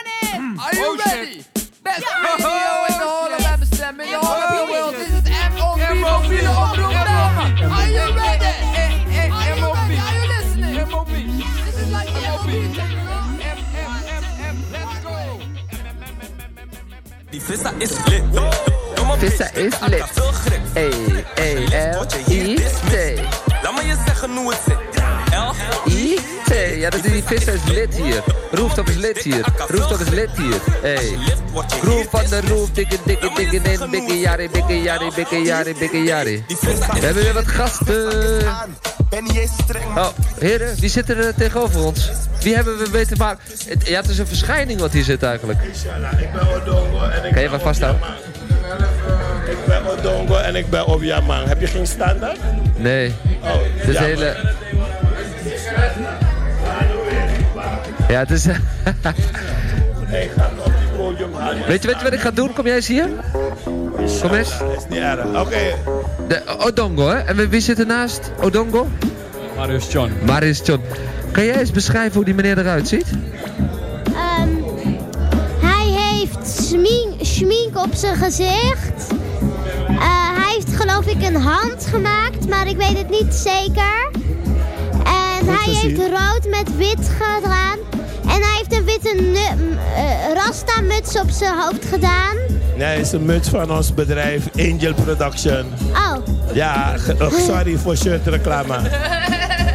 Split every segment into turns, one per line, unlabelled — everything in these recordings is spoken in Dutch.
Are you
Oh, shit.
ready? Best
Yeah. Oh,
radio in the whole of Amsterdam, in the whole of the
Yeah.
world. This is MOB from
MOB.
Villa Bloemendaal. Are you ready? Are you
MOB.
ready? Are you listening?
MOB.
This is like the MOB.
Die vissa is lit. Doe maar
Vissa
bitch,
is
ik
lit.
heb veel grip.
E,
Laat me je zeggen hoe het zit. Elf.
IT. Ja, dat is die visser is lid hier. Rooftop is lid hier. Rooftop is lid hier. Hey. Groep van de roof, dikke, dikke, dikke, in, dikke, jari, dikke, jari, dikke, jari, dikke, jari.
Die vissa
We
is
hebben weer wat gasten.
Ben niet eens streng, maar
Oh, heren, wie zit er eh, tegenover ons? Wie hebben we weten maar... Het- Ja, het is een verschijning wat hier zit eigenlijk.
Ik ben Odongo en ik
Kan je maar vasthouden?
Ik ben Odongo en ik ben Obiaman. Heb je geen standaard?
Nee,
Oh,
het is
jammer.
hele... Ja, het is...
Ik ga hem op die podium halen.
Weet je, weet je wat ik ga doen? Kom jij eens hier? Kom eens.
Dat is niet erg. Oké,
De Odongo, hè? En wie- wie zit ernaast? Odongo?
Marius John.
Marius John. Kan jij eens beschrijven hoe die meneer eruit ziet?
Ehm, hij heeft smink, schmink op zijn gezicht. Eh, hij heeft geloof ik een hand gemaakt, maar ik weet het niet zeker. En hij heeft rood met wit gedaan. En hij heeft een witte nu- eh, rasta-muts op zijn hoofd gedaan.
nee, is een muts van ons bedrijf Angel Production.
Oh,
Ja, ge- oh, sorry voor shirtreclame.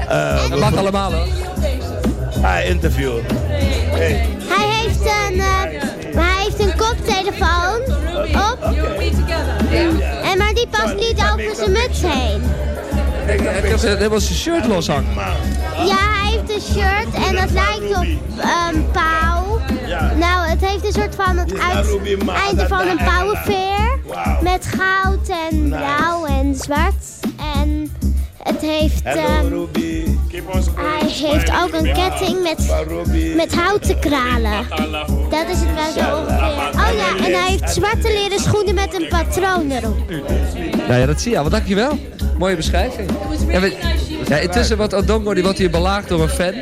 Eh,
Dat mag allemaal, hoor.
Hi, interview. Hey,
hij heeft een, eh, hij heeft een koptelefoon op. En, maar die past niet over zijn muts heen.
Hij heeft helemaal zijn shirt los hangen.
Ja, hij heeft een shirt en dat lijkt op een pauw.
Ja.
Nou, het heeft een soort van het uit-
Ruby Mata
einde van een
Daela.
pauwenveer.
Wauw.
Met goud en blauw en zwart. En het heeft...
hello
ehm,
Ruby. Keep on
hij heeft ook een ketting met,
Ruby.
met houten kralen. Dat is het wel zo ongeveer. Oh ja, en hij heeft zwarte leren schoenen met een patroon erop.
Nou ja, dat zie je al. Wat Dankjewel. Mooie beschrijving. Ja, we- ja, intussen wordt Odongo die wordt hier belaagd door een fan.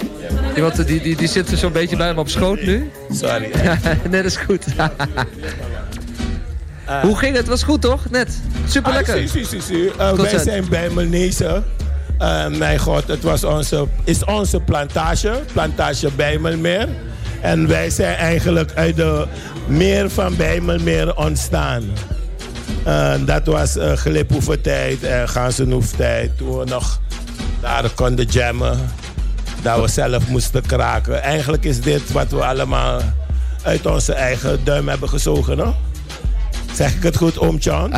Die, wordt, die, die, die zit er zo'n beetje bij hem op schoot nu.
Sorry.
Net is goed. Hoe ging het? Was goed toch? Net. Super
Ah,
lekker.
zie, zie, zie, zie. Eh, wij
Consent.
zijn bij Melnezen. Eh, mijn god, het was onze, is onze plantage, plantage Bijmelmeer. En wij zijn eigenlijk uit de meer van Bijmelmeer ontstaan. Eh, dat was eh gliphoeven-tijd en ganzenhoeftijd. Toen we nog daar konden jammen. Dat we zelf moesten kraken. Eigenlijk is dit wat we allemaal uit onze eigen duim hebben gezogen. Hoor. Zeg ik het goed, oom John?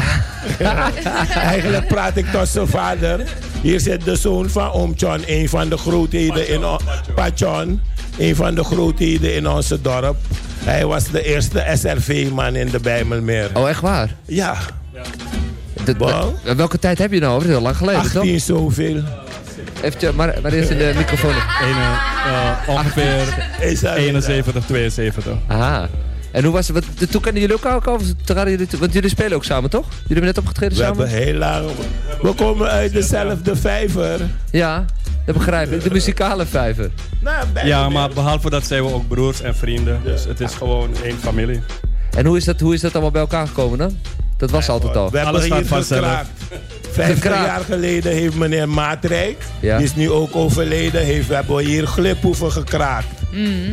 Eigenlijk praat ik tot zijn vader. Hier zit de zoon van oom John, een van de grootheden in ons... Pachon, een van de grootheden in ons dorp. Hij was de eerste SRV-man in de Bijmelmeer.
Oh, echt waar?
Ja,
De-
Wow.
de- welke tijd heb je nou over? Heel lang geleden, toch?
18 zoveel.
Even, tja, maar, maar eerst in de microfoon.
Ene, eh, ongeveer
Is dat-
71, 72.
Aha. En hoe was het? Wat- Toen kenden jullie elkaar ook al? Of traden jullie- Want jullie spelen ook samen, toch? Jullie hebben net opgetreden
We
samen?
hebben heel lang... We komen uit dezelfde vijver.
Ja, dat begrijp ik. De muzikale vijver.
Nou,
Ja, maar behalve dat zijn we ook broers en vrienden. Dus het is gewoon één familie.
En hoe is dat, hoe is dat allemaal bij elkaar gekomen dan? Dat was altijd al.
We hebben
Alles
hier
staat vanzelf.
gekraakt. 50
Gekraakt.
jaar geleden heeft meneer Maatrijk,
Ja.
die is nu ook overleden, heeft, we hebben hier gliphoeven gekraakt.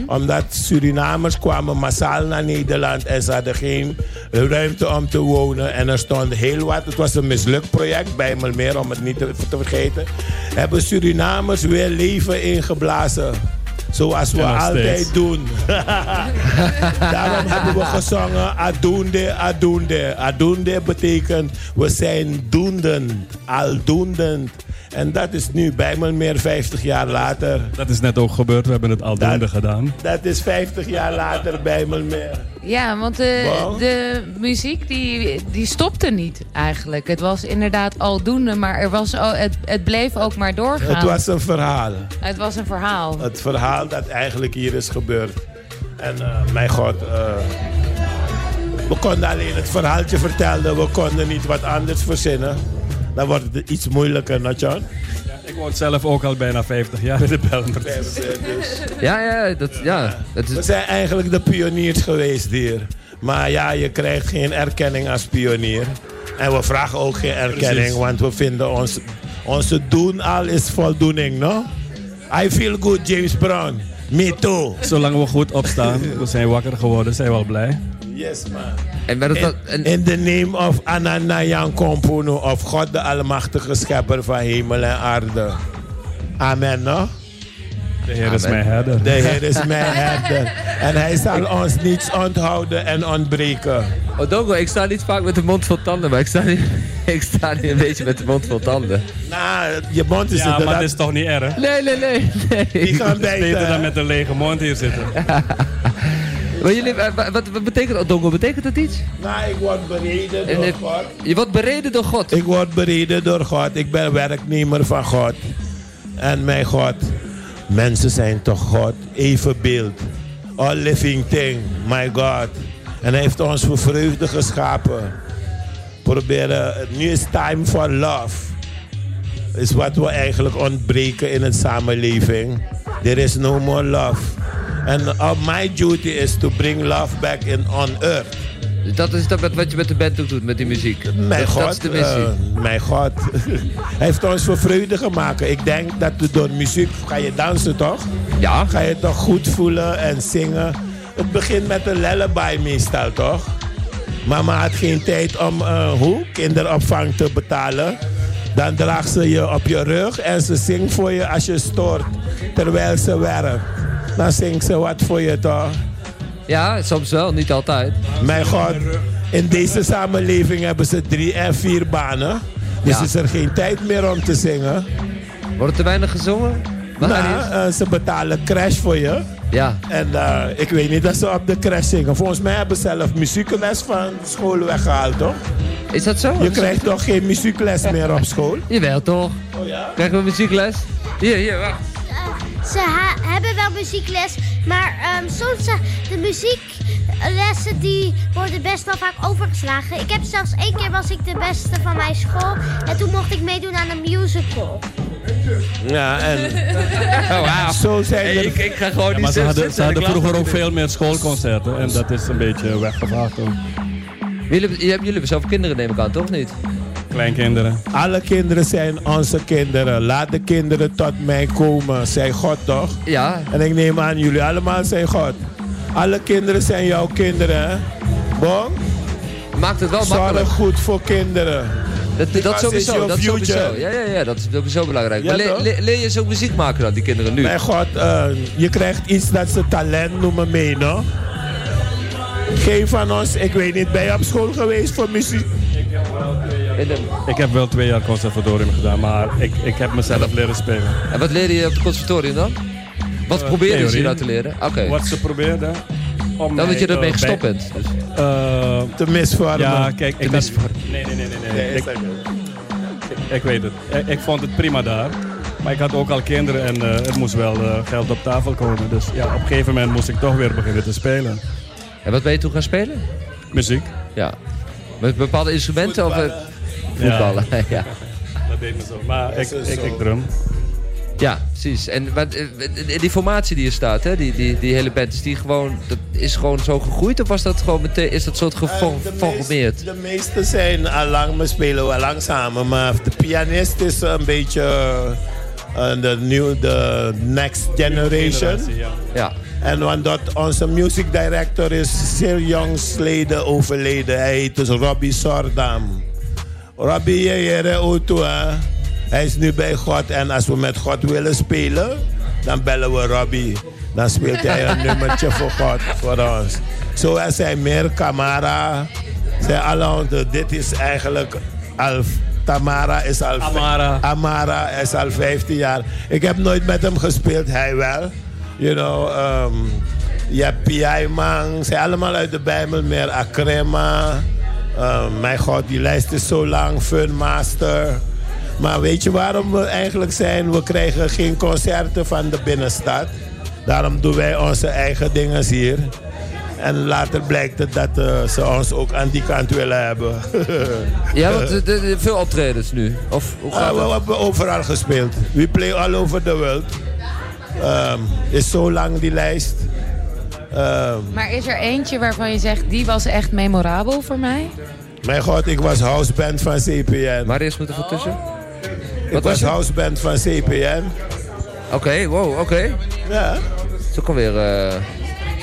Omdat Surinamers kwamen massaal naar Nederland en ze hadden geen ruimte om te wonen. En er stond heel wat, het was een mislukt project bij Melmeer, om het niet te, te vergeten. Hebben Surinamers weer leven ingeblazen. Zoals we
En nog
altijd
steeds.
doen. Daarom hebben we gezongen Adunde, Adunde. Adunde betekent we zijn doendend, aldoendend. En dat is nu bij me meer 50 jaar later.
Dat is net ook gebeurd. We hebben het aldoende
Dat-
gedaan.
Dat is 50 jaar later bij me meer.
Ja, want eh,
Wow.
de muziek die, die stopte niet eigenlijk. Het was inderdaad aldoende, maar er was, al- het, het bleef ook maar doorgaan.
Het was een verhaal.
Het was een verhaal.
Het verhaal dat eigenlijk hier is gebeurd. En eh, mijn god, eh, we konden alleen het verhaaltje vertellen. We konden niet wat anders verzinnen. Dan wordt het iets moeilijker, Natjan.
Ik woon zelf ook al bijna 50 jaar in de Belmer.
Ja, ja, dat, ja. Het
We
is,
zijn eigenlijk de pioniers geweest hier. Maar ja, je krijgt geen erkenning als pionier. En we vragen ook geen erkenning,
Precies.
want we vinden ons, onze doen al is voldoening, no? I feel good, James Brown. Me too.
Zolang we goed opstaan, we zijn wakker geworden, zijn we al blij.
Yes, man.
en werd het wel- en-
In, in the name of Ananayan Kompunu of God de Almachtige Schepper van hemel en aarde. Amen, no?
De Heer is
Amen.
mijn herder.
De Heer is mijn herder. En hij zal ons niets onthouden en ontbreken.
Odongo, Oh, ik sta niet vaak met de mond vol tanden, maar ik sta nu, ik sta nu een beetje met de mond vol tanden.
Nou, je mond is
Ja, maar
inderdaad...
dat is toch niet erg?
Nee, nee, nee,
Die
nee.
gaan
Beter dan
bijten.
met een lege mond hier zitten.
Maar jullie, eh, wa- wat, wat betekent Odongo? Betekent dat iets?
Nou, ik word bereden
En
door
het-
God.
Je wordt bereden door God.
Ik word bereden door God. Ik ben werknemer van God. En mijn God. Mensen zijn toch God. Evenbeeld. All living thing. My God. En hij heeft ons voor vreugde geschapen. Proberen. Nu is time for love. Is wat we eigenlijk ontbreken in een samenleving. There is no more love. And uh, my duty is to bring love back in on earth.
Dat is dat met wat je met de band ook doet, met die muziek.
Mijn
dat,
god,
dat is de missie.
eh, mijn god. Hij heeft ons voor vreugde gemaakt. Ik denk dat we door muziek ga je dansen toch?
ja,
Ga je toch goed voelen en zingen. Het begint met een lullaby meestal toch? Mama had geen tijd om eh, hoe kinderopvang te betalen. Dan draagt ze je op je rug en ze zingt voor je als je stoort. Terwijl ze werkt. Dan zingt ze wat voor je toch?
ja, soms wel, niet altijd.
Mijn god, in deze samenleving hebben ze drie en vier banen. Dus
Ja.
is er geen tijd meer om te zingen.
Wordt er te weinig gezongen? Maar
Nou,
Arius-
eh, ze betalen crash voor je.
ja,
En eh, ik weet niet dat ze op de crash zingen. Volgens mij hebben ze zelf muziekles van school weggehaald, toch?
is dat zo?
Je krijgt toch geen muziekles meer op school? Oh,
Jawel toch? Krijgen we muziekles? Hier, hier, wacht.
Ze ha- hebben wel muziekles, maar ehm, soms zijn de muzieklessen die worden best wel vaak overgeslagen. Ik heb zelfs één keer was ik de beste van mijn school en toen mocht ik meedoen aan een musical.
Ja, en
Oh, wauw.
zo zijn
Hey,
er...
ik, ik ga gewoon niet
Maar ze
zo
hadden,
zitten,
ze hadden
ik laat
vroeger ook
het niet.
veel meer schoolconcerten en dat is een beetje weggevaagd door
Jullie, jullie hebben zelf kinderen neem ik aan, toch niet?
kleinkinderen.
Alle kinderen zijn onze kinderen. Laat de kinderen tot mij komen. Zij God, toch?
Ja,
En ik neem aan, jullie allemaal zijn God. Alle kinderen zijn jouw kinderen. hè? Bon,
maakt het wel makkelijk.
zorg goed voor kinderen.
Dat, dat
Because it's
sowieso,
your
dat sowieso.
future.
Ja, ja, ja, dat is sowieso belangrijk.
Ja,
maar le-
toch?
le- leer je ze ook muziek maken dan, die kinderen nu?
Mijn God, eh, je krijgt iets dat ze talent noemen mee, no? Geen van ons, ik weet niet, ben je op school geweest voor muziek?
En, eh,
Ik heb wel twee jaar conservatorium gedaan, maar ik, ik heb mezelf leren spelen.
en wat leer je op het conservatorium dan? Wat probeer je
Eh, theorie.
nou te leren? Oké,
Wat ze probeerden... Om
dan dat je
mij,
ermee
eh,
gestopt
bij-
bent. Dus,
Eh,
Te misvormen.
ja, kijk, ik had-
misvormen.
Nee, nee, nee, nee. nee.
Nee,
Ik-
is dat niet.
Ik weet het. Ik, ik vond het prima daar. Maar ik had ook al kinderen en eh het moest wel eh, geld op tafel komen. Dus ja, op een gegeven moment moest ik toch weer beginnen te spelen.
en wat ben je toen gaan spelen?
Muziek.
Ja. Met bepaalde instrumenten of eh, voetballen? Ja. ja.
Dat deed me zo. Maar ik,
zo,
ik,
zo.
ik drum.
precies. En wat, eh, eh, die formatie die er staat, hè? Die, die, die hele band, is die gewoon, dat is gewoon zo gegroeid? Of was dat gewoon meteen, is dat soort
Eh, de,
geformeerd?
meest, de meeste zijn al lang, we spelen wel lang samen, maar de pianist is een beetje eh, eh, de new, de next generation.
Generatie, ja.
Ja.
En omdat onze music director is zeer jongsleden overleden. Hij heet dus Robbie Sordam. Robbie je jere auto, hè? Hij is nu bij God. En als we met God willen spelen, dan bellen we Robbie. Dan speelt hij een nummertje voor God, voor ons. Zo er zijn meer Camara. Zijn alle onze- dit is eigenlijk al... Tamara is al...
Amara.
Amara hij is al 15 jaar. Ik heb nooit met hem gespeeld, hij wel. You know, ehm je hebt P.I. Mang, zijn allemaal uit de Bijbelmeer, Akrema. Ehm, mijn god, die lijst is zo lang, Funmaster. Maar weet je waarom we eigenlijk zijn? We krijgen geen concerten van de binnenstad. Daarom doen wij onze eigen dingen hier. En later blijkt het dat eh, ze ons ook aan die kant willen hebben.
Ja, want eh, de- de- veel optredens nu. Of hoe
Ah,
gaat
we
het?
hebben overal gespeeld. We play all over the world. Ehm, is zo lang die lijst. Ehm,
Maar is er eentje waarvan je zegt, die was echt memorabel voor mij?
mijn god, ik was houseband van CPN.
Marius moet er voor tussen.
ik
Wat
was
was het?
houseband van CPN.
Oké, wow, oké.
Ja,
Het is ook alweer... eh,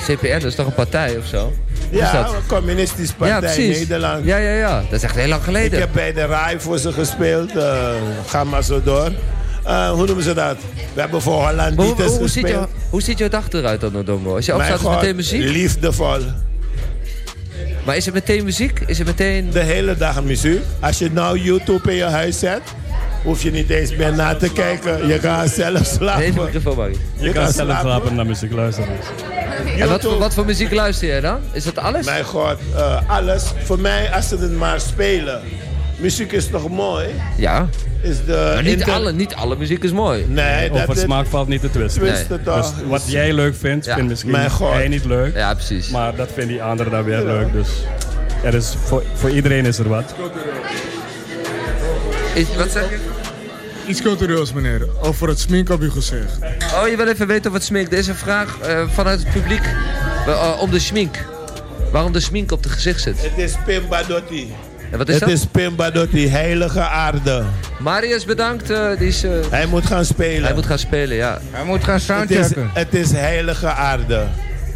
CPN, dat is toch een partij of zo? Wat is
ja
dat?
communistische partij Nederland.
Ja, ja, ja. Dat is echt heel lang
Ik
geleden.
heb bij de RAI voor ze gespeeld. eh, ga maar zo door. Eh, hoe noemen ze dat? We hebben voor Holland
Maar hoe,
Dieters
hoe, hoe ziet
gespeeld.
jou, hoe ziet jouw dag eruit dan, Dongo? Als je opstaat
Mijn
is het
god,
meteen muziek?
Liefdevol.
Maar is het meteen muziek? Is het meteen...
De hele dag muziek. Als je nou YouTube in je huis zet, hoef je niet eens meer na te kijken. Je gaat zelf
Deze
slapen.
microfoon, Marie.
Je kan zelf slapen naar muziek luisteren.
En wat, voor-
YouTube.
wat voor muziek luister jij dan? Is dat alles?
Mijn god, eh, alles. Voor mij, als ze het maar spelen. Muziek is toch mooi?
Ja.
Is de
Maar niet,
inter-
alle, niet alle muziek is mooi.
Nee, dat
Over
is
smaak valt niet te twisten.
twisten
Nee.
toch.
Dus wat jij leuk vindt,
Ja.
vindt misschien
Mijn god.
hij niet leuk.
Ja, precies.
Maar dat vinden die anderen dan weer leuk. Dus er is voor, voor iedereen is er wat.
Is, wat zeg je?
Iets cultureels, meneer. Over het smink op uw gezicht.
Oh, je wil even weten wat sminkt. Er is een vraag eh, vanuit het publiek eh, eh, om de smink. Waarom de smink op het gezicht zit.
Het is Pimba Dotti.
En wat is
Het
dat?
is Pimba Dotti, heilige aarde.
Marius, bedankt. eh, die is, eh,
Hij moet gaan spelen.
hij moet gaan spelen, ja.
Hij moet gaan
het, is,
soundchecken.
het is heilige aarde.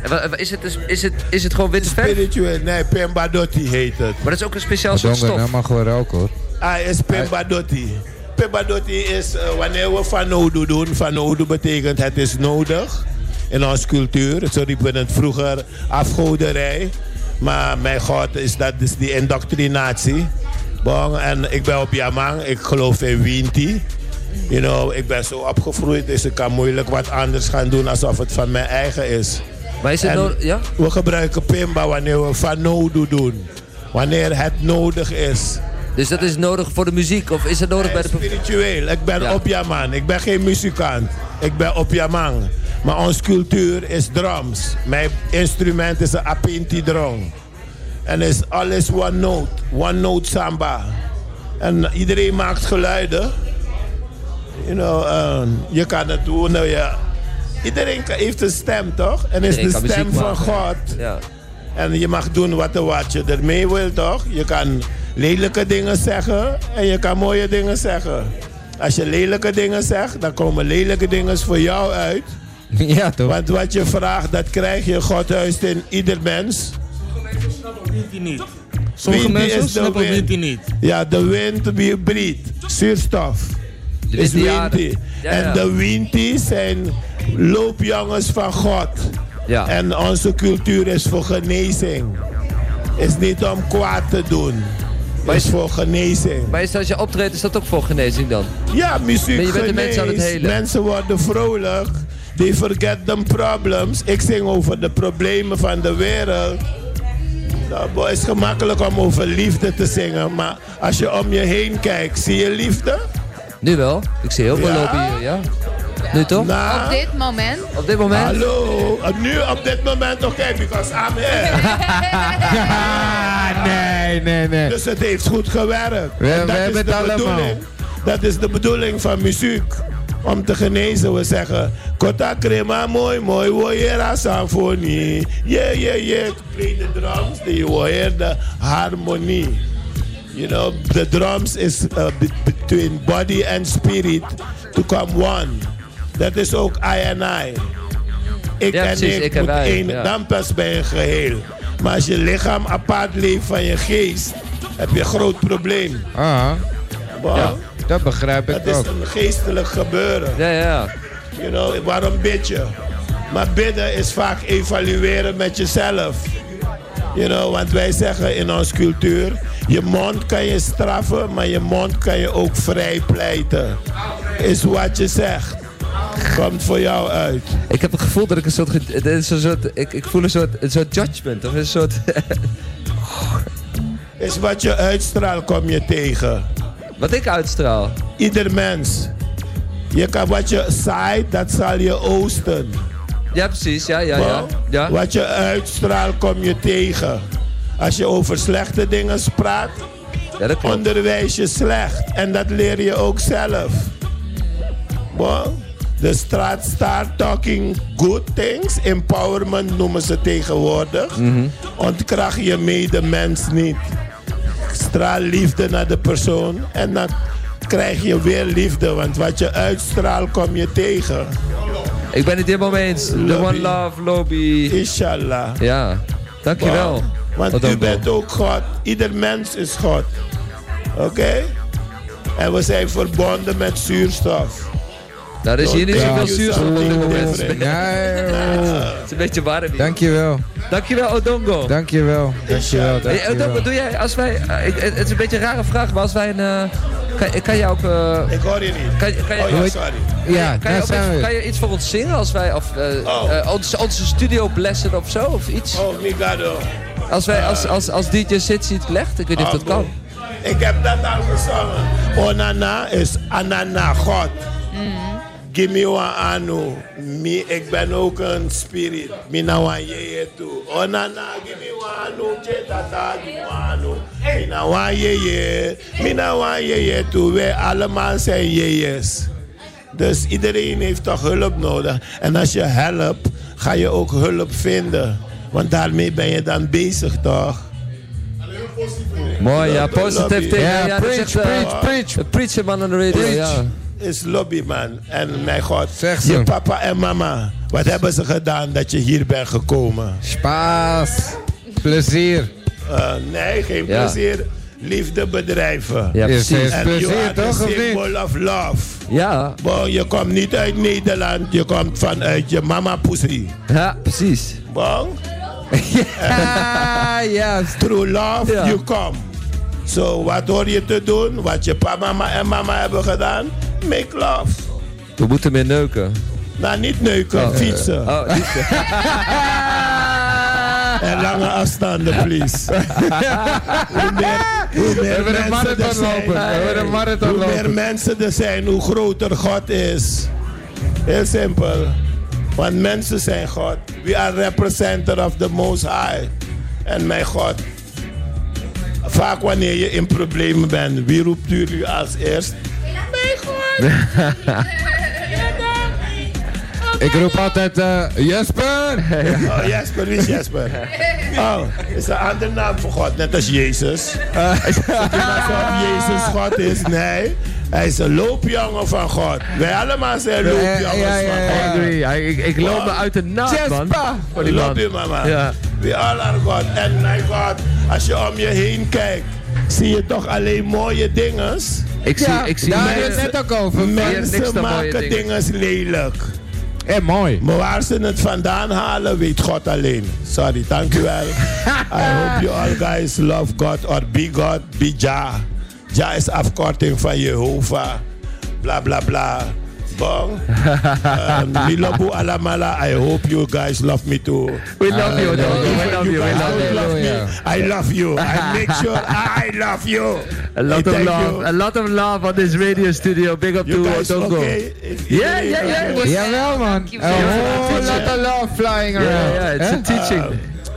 En wa- wa- is, het, is, is, het, is het gewoon witte verf?
Spiritueel, nee, Pimba Dotti heet het.
Maar dat is ook een speciaal soort
Donker, nou
stof.
mag wel roken hoor.
Hij is Pimba Dotti. Pimba Dotti is, eh, wanneer we van Odu doen, van Odu betekent het is nodig. In onze cultuur, zo riepen we het vroeger, afgoderij. Maar mijn god, is dat dus die indoctrinatie. Bon, en ik ben op Yamang, ik geloof in Winti. You know, ik ben zo opgegroeid, dus ik kan moeilijk wat anders gaan doen alsof het van mijn eigen is.
Maar is het
En-
nou... Ja?
We gebruiken Pimba wanneer we van Odu doen. Wanneer het nodig is.
Dus dat is nodig voor de muziek? Of is het nodig bij de... pro-
Spiritueel. Ik ben
Ja.
Opjaman. Ik ben geen muzikant. Ik ben Opjaman. Maar onze cultuur is drums. Mijn instrument is een apinti drum. En is alles one note. One note samba. En iedereen maakt geluiden. You know, eh, je kan het doen. eh, ja. Iedereen kan- heeft een stem, toch? En is
Iedereen
de
kan muziek
stem van
maken.
God.
Ja.
En je mag doen wat, wat je ermee wil, toch? Je kan lelijke dingen zeggen en je kan mooie dingen zeggen. Als je lelijke dingen zegt, dan komen lelijke dingen voor jou uit.
Ja toch?
Want wat je vraagt, dat krijg je. God huist in ieder mens.
Sommige
Wind
mensen
is de
snappen
wind.
wind die niet.
Ja, de wind die breed, zuurstof,
De
is
witte jaren.
windy.
Ja,
En
ja.
de windy zijn loopjongens van God.
Ja.
En onze cultuur is voor genezing. Is niet om kwaad te doen. is voor genezing.
Maar is, als je optreedt, is dat ook voor genezing dan?
Ja, muziek
Maar je bent de mensen aan het
geneest.
helen.
Mensen worden vrolijk. They forget them problems. Ik zing over de problemen van de wereld. Nou, boy, het is gemakkelijk om over liefde te zingen. Maar als je om je heen kijkt, zie je liefde?
Nu wel. Ik zie heel veel
Ja?
lopen hier, ja. Nu toch?
Nou,
Op dit moment?
Op dit moment?
hallo. Nu op dit moment, oké, because I'm here.
Ah, nee, nee, nee.
Dus het heeft goed gewerkt.
We-
En
we hebben het allemaal.
Dat is de bedoeling van muziek. Om te genezen, we zeggen. Kota crema, mooi, mooi, woyera symfonie. Yeah, yeah, yeah. Ik play the drums, die woyer de harmonie. You know, the drums is uh, be- between body and spirit to come one. Dat is ook I and I. Ik
Ja,
en
precies,
ik,
ik en
moet
wij,
één,
ja.
dan pas bij een geheel. Maar als je lichaam apart leeft van je geest, heb je een groot probleem.
Ah,
Want
dat begrijp
Het
ik
is
ook.
een geestelijk gebeuren.
Ja, ja, ja.
You know, waarom bid je? Maar bidden is vaak evalueren met jezelf. You know, want wij zeggen in onze cultuur, je mond kan je straffen, maar je mond kan je ook vrij pleiten. Is wat je zegt. Komt voor jou uit.
Ik heb het gevoel dat ik een soort... ge- Het is een soort ik, ik voel een soort, een soort judgment. Of een soort...
Is wat je uitstraalt, kom je tegen.
wat ik uitstraal.
ieder mens. Je kan wat je zaait, dat zal je oosten.
Ja, precies. Ja, ja, ja.
Wel,
ja.
Wat je uitstraalt, kom je tegen. Als je over slechte dingen praat,
ja dat klopt.
onderwijs je slecht. En dat leer je ook zelf. Wel, de straat start talking good things. Empowerment noemen ze tegenwoordig. Ontkracht je medemens niet. Straal liefde naar de persoon. En dan krijg je weer liefde. Want wat je uitstraalt, kom je tegen.
Ik ben het helemaal mee eens. The
Lobby.
One Love Lobby.
Inshallah.
Ja, dankjewel.
Want
Wat
u
ook wel.
bent ook God. oh Ieder mens is God. Oké? En we zijn verbonden met zuurstof.
Nou, er is hier niet
Ja.
zoveel zuurstof op dit moment. Het
Ja,
is een beetje warm hier.
dankjewel.
Dankjewel, Odongo.
Dankjewel. Dankjewel.
Hey, Odongo,
dankjewel.
doe jij, als wij, eh, ik- het is een beetje een rare vraag, maar als wij een, eh, kan, kan jij ook, eh,
Ik hoor je niet.
kan, kan, jij,
oh ja,
Nooit.
sorry.
Ja,
kan, jij
daar
ook iets-
zijn
kan
we.
je iets voor ons zingen als wij, of eh,
Oh.
eh, ons- onze studio blessen of zo, of iets?
Oh, Migado.
Als wij, als, als, als DJ Sitsi het legt, ik weet niet of
Ah,
dat
nou,
kan.
Ik heb dat al gezongen. Onana is Anana, God.
Mhm.
Give me one anu. Me, ik ben ook een spirit. nou Mina wan yeye too. Onana, give me one anu. Chetata, give me nou one anu. Mina wan yeye. Mina wan yeye too. Wij allemaal zijn yeyes. Dus iedereen heeft toch hulp nodig. En als je helpt, ga je ook hulp vinden. Want daarmee ben je dan bezig, toch?
Mooi, ja, positief
Lobby.
tegen.
Ja,
dat
preach,
zegt, eh,
preach, preach.
een preacher man aan de radio,
Preach.
ja.
is lobbyman. En mijn god,
Zeg ze.
je papa en mama, wat hebben ze gedaan dat je hier bent gekomen?
Spaas. Plezier.
Eh, nee, geen
Ja.
plezier. Liefde bedrijven.
Ja,
Is
precies.
het
En you
plezier
are the
toch of niet?
symbol of love.
Ja,
Wow, je komt niet uit Nederland, je komt vanuit je mama pussy.
ja, precies.
Wow,
Ah, ja.
through love
Ja.
you come. So wat hoor je te doen? Wat je papa mama en mama hebben gedaan? Make love.
We moeten meer neuken.
Nou, niet neuken, fietsen.
Oh, niet-
En lange afstanden, please. hoe meer, hoe meer
We hebben een
mensen eh, er
marathon
zijn,
lopen. We hebben een marathon
hoe meer
lopen.
mensen er zijn, hoe groter God is. Heel simpel. Want mensen zijn God. We are representative of the Most High. En mijn God. Vaak wanneer je in problemen bent, wie roept jullie als eerst?
Ik roep altijd eh Jesper.
Oh, Jesper, wie is Jesper? Oh, is een andere naam voor God, net als Jezus. Alsof Jezus God is, nee. Hij is een loopjongen van God. Wij allemaal zijn
Ja,
loopjongens
ja, ja.
van God.
ja.
ik, ik loop me uit de naad, man.
Jesper.
Van die
Loop
man.
je mama.
Ja.
We all are God. En mijn God, als je om je heen kijkt, zie je toch alleen mooie dingen.
Ik zie,
Ja,
ik zie
daar
meer-
hadden we het net ook over.
niks
Mensen
dan mooie
maken dingen
dingen.
lelijk.
Eh, mooi.
Maar waar ze het vandaan halen, weet God alleen. Sorry, dank u wel. I hope you all guys love God or be God, be Jah. Jah is afkorting van Jehovah. Bla bla bla. Bong. Um, Milobu alamala. I hope you guys love me too.
We love you,
Hallelujah.
Odongo. We
Even
love
you
you, we
guys
love
don't
you.
love me.
Hallelujah.
I love you. I make sure I love you.
A lot
I
of
thank
love. A
You,
lot of love on this radio studio. Big up
you
to
guys
Odongo.
okay? If
Ja,
iedereen
ja, ja,
okay?
was-
Jawel, man. A
Dankjewel.
whole lot of love flying
Ja, ja,
around.
het is
hè?
een teaching.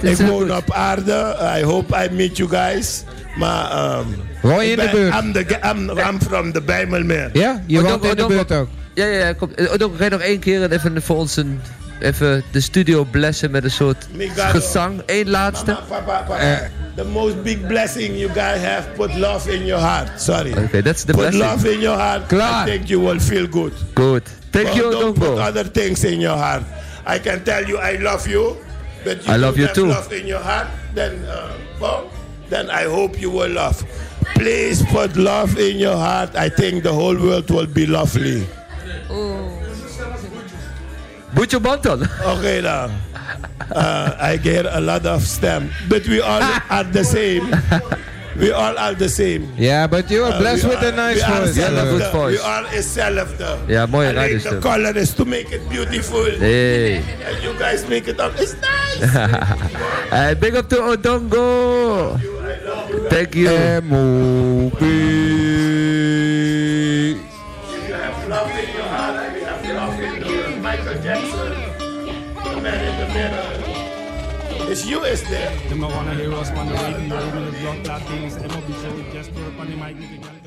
Uh, Ik woon op aarde. I hope I meet you guys. Maar ehm
Woon je
ik
in de
ben-
buurt?
I'm, the, ge- I'm, I'm from the Bijlmermeer.
Ja, je
Oh,
woont
Donko,
in de
Donko.
buurt ook.
Ja, ja, ja. Kom. Eh, Odongo, ga je nog één keer en even voor ons een... Even de studio blessen met een soort
Migado.
gezang. Eén laatste.
Mama, papa, papa. the most big blessing you guys have, put love in your heart. Sorry.
Okay, that's the
put
blessing.
love in your heart.
Klaar.
I think you will feel good.
Good. Thank
Well,
you,
don't put
Odongo.
other things in your heart. I can tell you I love you, but you
I love
don't
you
have
too.
love in your heart, then uh, well, then I hope you will love. Please put love in your heart. I think the whole world will be lovely.
Boetje Banton.
Okay now. Uh, I get a lot of stem, but we all are the same. We all are the same.
Yeah, but you are
Uh,
blessed
we
with a
are-
nice
we are
voice.
Yeah,
hetzelfde.
good voice.
We all hetzelfde.
Ja, mooie
Alleen
radiostem.
The color is to make it beautiful.
Hey.
And you guys make it up. It's nice.
Hey, big up to Odongo. Thank you.
Eh, M.O.B.
Michael Jackson. somewhere in the middle. It's you is there.
De marijuana heroes van de radio, de blok, Latins, MLB show, Jasper, Panimai,